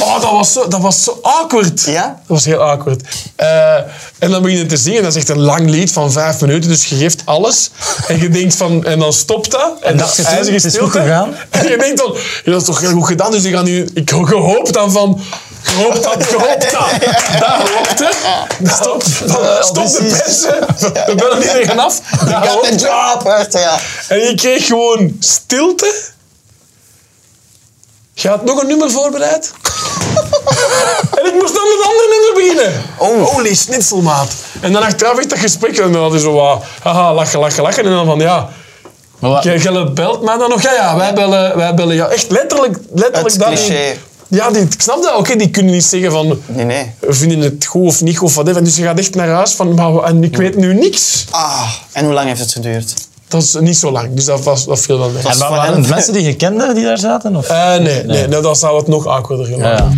S4: Oh, dat was zo, dat was zo awkward.
S3: Ja?
S4: Dat was heel awkward. Eh, en dan begin je te zingen. Dat is echt een lang lied van vijf minuten. Dus je geeft alles. En je denkt van... En dan stopt dat. En,
S2: dacht je toen,
S4: ijzige
S2: het is goed
S4: stilte.
S2: gegaan?
S4: En je denkt dan... "Ja, Dat is toch heel goed gedaan. Dus je gaat nu... Ik hoop dan van... Gehoop dat, gehoop dat. Daar hoopt het. Stop,
S2: eh,
S4: stop de persen. We bellen iedereen gaan af.
S3: You
S4: Daar
S3: got the
S4: hoopt het.
S3: job, echt, ja.
S4: En je kreeg gewoon stilte. Je had nog een nummer voorbereid. en ik moest dan met een ander nummer beginnen.
S3: Oh.
S4: Holy snitselmaat. En dan achteraf echt dat gesprek. En dan hadden ze zo wat... Haha, lachen, lachen, lachen. En dan van, ja...
S2: Maar wat-
S4: Jij jij belt mij dan nog? Ja, ja, wij bellen, wij bellen jou. Echt letterlijk, letterlijk
S3: Het
S4: dat
S3: cliché.
S4: niet. Ja, die, ik snap dat. Oké, die kunnen niet zeggen van...
S3: Nee, nee.
S4: We vinden het goed of niet goed of whatever. Dus je gaat echt naar huis van... Maar, we- en ik weet nu niks.
S3: Ah, en hoe lang heeft het geduurd?
S4: Dat is niet zo lang. Dus dat, was, dat viel wel mee.
S2: En wa- waren het mensen die je kende die daar zaten? Of?
S4: Eh, nee, nee. nee, dan zou het nog awkwarder gaan.
S2: Ja.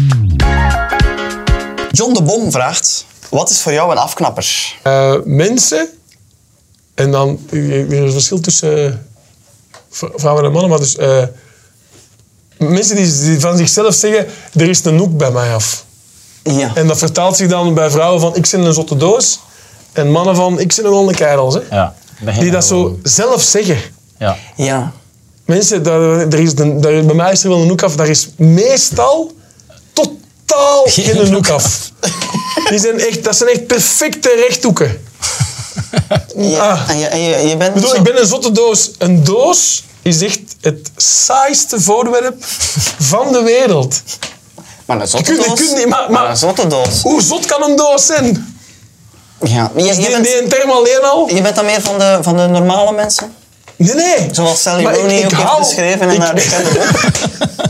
S3: John de Bom vraagt... Wat is voor jou een afknapper?
S4: Eh, mensen, en dan, er is een verschil tussen eh, v- vrouwen en mannen, maar dus eh, mensen die, die van zichzelf zeggen, er is een hoek bij mij af.
S3: Ja.
S4: En dat vertaalt zich dan bij vrouwen van, ik zit in een zotte doos, en mannen van, ik zit in een kerels. Hè?
S2: Ja. Begin
S4: Die dat
S2: gewoon.
S4: zo zelf zeggen.
S2: Ja.
S3: Ja.
S4: Mensen, daar, er is een, daar- bij mij is er wel een hoek af. Daar is meestal totaal geen,
S2: hoek
S4: hoek af. Die zijn echt, dat zijn echt perfecte rechthoeken.
S3: Ja,
S4: Ah.
S3: En je, en je, je bent
S4: Ik bedoel,
S3: zo-
S4: ik ben een zotte doos. Een doos is echt het saaiste voorwerp van de wereld.
S3: Maar een zotte
S4: Je kunt- je
S3: doos.
S4: kunt niet, maar- maar-
S3: een zotte doos.
S4: Hoe zot kan een doos zijn?
S3: Ja. Je, je,
S4: Die,
S3: bent,
S4: die een term alleen al?
S3: je bent dan meer van de, van de normale mensen?
S4: Nee, nee.
S3: Zoals Sally
S4: Maar ik-
S3: Rooney
S4: ik
S3: ook
S4: hou-
S3: heeft beschreven
S4: ik-
S3: in haar bekende boek.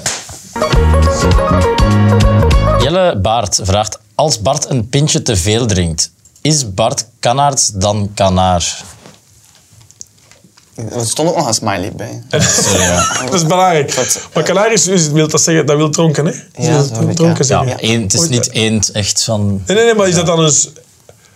S2: Jelle Baart vraagt, als Bart een pintje te veel drinkt, is Bart Kanaards dan Kanaar?
S3: Er stond ook nog een smiley bij.
S4: Dat is belangrijk.
S3: Oh. Dat-
S4: Maar Canaris is, wil dat zeggen, dat wil dronken, hè?
S3: Ja,
S4: dat
S3: zo weet ik,
S4: dronken
S3: ja.
S2: Ja, eh,
S4: zeggen.
S2: één- het is
S4: Ooit-
S2: niet eend echt van...
S4: Nee, nee, nee, maar is dat dan eens... dus-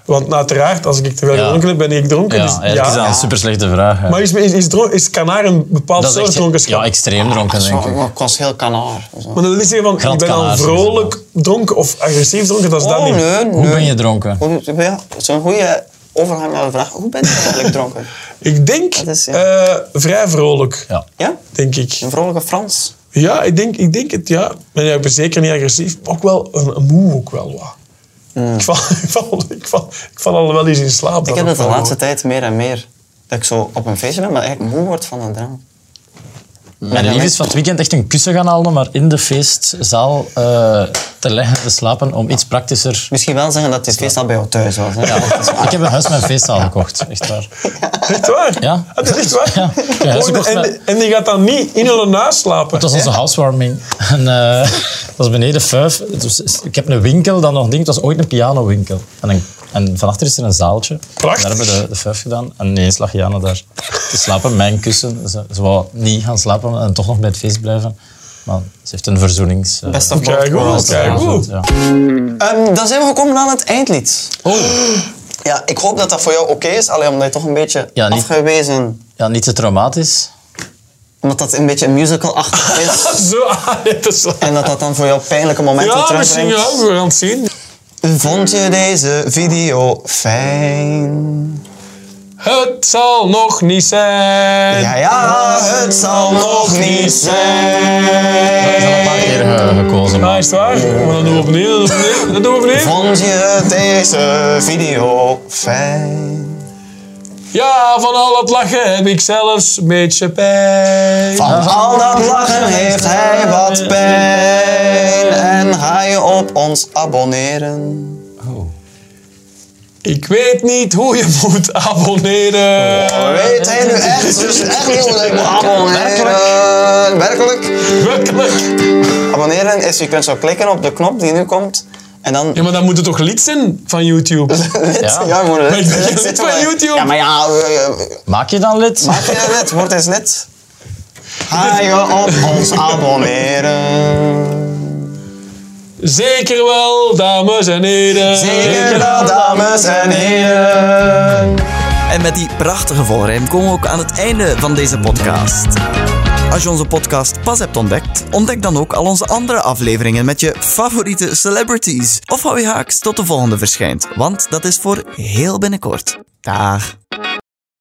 S4: Want uiteraard, als ik te veel
S2: Ja.
S4: gedronken heb, ben ik dronken.
S5: Ja,
S4: dus
S5: ja, dat is dan
S4: ja.
S5: een super slechte vraag. hè.
S4: Maar is, is, is, dron- is kanaar een bepaald
S5: dat is
S4: soort
S5: echt,
S4: dronkenschap?
S5: ja, extreem
S2: Ah,
S5: dronken, denk ik.
S3: Zo, Ik was heel kanaar. Zo.
S4: Maar dat wil niet zeggen van, ik
S5: Grand
S4: ben al
S5: Kanaar,
S4: vrolijk dronken of agressief dronken, dat is dat
S3: Oh,
S4: niet.
S3: nee,
S5: Hoe
S3: nee.
S5: ben je dronken?
S3: Hoe- ja, dat is een goede overgang naar de vraag. Hoe ben je eigenlijk dronken?
S4: Ik denk
S3: Dat is, ja.
S4: eh, vrij vrolijk,
S5: Ja.
S3: Ja?
S4: denk ik.
S3: Een vrolijke Frans.
S4: Ja, ik denk, ik denk het, ja. Maar ja, ik ben zeker niet agressief, maar ook wel een, een moe ook wel wat. Ik, val, ik, val, ik, val, ik val al wel eens in slaap.
S3: Ik
S4: dan
S3: heb
S4: ook
S3: dat de
S4: wel.
S3: laatste tijd meer en meer. Dat ik zo op een feestje ben, maar eigenlijk moe word van een drank.
S2: Mijn lief is van het weekend echt een kussen gaan halen om maar in de feestzaal eh, te leggen, te slapen, om iets praktischer...
S3: Misschien wel zeggen dat dit feest al bij jou thuis was. Hè?
S2: Ik heb een huis met een feestzaal gekocht, echt waar.
S4: Echt waar?
S2: Ja.
S4: Het is echt waar?
S2: Ja. Ja,
S4: Oh,
S2: ze kocht mij-
S4: en, en die gaat dan niet in hun naast slapen?
S2: Het was onze housewarming. En, eh, het was beneden vijf. Het was- ik heb een winkel dan nog ding. Het was ooit een pianowinkel. En, een, en vanachter is er een zaaltje.
S4: Prachtig.
S2: Daar hebben we de, de vijf gedaan. En ineens lag Jana daar te slapen. Mijn kussen. Ze, ze wou niet gaan slapen en toch nog bij het feest blijven. Maar ze heeft een verzoenings... eh,
S3: Best of both
S4: Kijk,
S3: worlds.
S4: goed, kijk, goed.
S2: ja.
S3: Ehm, dan zijn we gekomen aan het eindlied.
S2: oh.
S3: Ja, ik hoop dat dat voor jou oké is. Alleen omdat je toch een beetje
S2: Ja, niet-
S3: afgewezen...
S2: ja, niet te traumatisch.
S3: Omdat dat een beetje een musical-achtig is.
S4: Zo ah, aan te slapen.
S3: en dat dat dan voor jou pijnlijke momenten
S4: Ja, misschien
S3: terugbrengt.
S4: ja, we gaan het zien.
S3: Vond je deze video fijn?
S4: Het zal nog niet zijn.
S3: Ja, ja, het zal nog niet
S2: Ik heb al een
S3: zijn.
S2: paar keer eh, gekozen.
S4: Ah,
S2: Maar
S4: is het waar? Maar dan doen we opnieuw, dan doen we opnieuw, dan doen we opnieuw.
S3: Vond je deze video fijn?
S4: Ja, van al dat lachen heb ik zelfs een beetje pijn.
S3: Van al dat lachen heeft hij wat pijn. En ga je op ons abonneren?
S4: Ik weet niet hoe je moet abonneren.
S3: Weet hij nu echt? Dus echt niet hoe ik moet abonneren. Werkelijk?
S4: Werkelijk.
S3: Abonneren is, je kunt zo klikken op de knop die nu komt. En dan...
S4: Ja, maar dan moet het toch lid zijn van YouTube?
S3: Ja, ja moet het.
S4: Maar ik ben geen lid van YouTube.
S3: Ja, maar ja, eh,
S2: maak je dan lid?
S3: Maak je een lid? Word eens lid. Ga je op ons abonneren.
S4: Zeker wel, dames en heren.
S3: Zeker wel, dames en heren.
S1: En met die prachtige volrijm komen we ook aan het einde van deze podcast. Als je onze podcast pas hebt ontdekt, ontdek dan ook al onze andere afleveringen met je favoriete celebrities. Of hou je haaks tot de volgende verschijnt, want dat is voor heel binnenkort. Dag.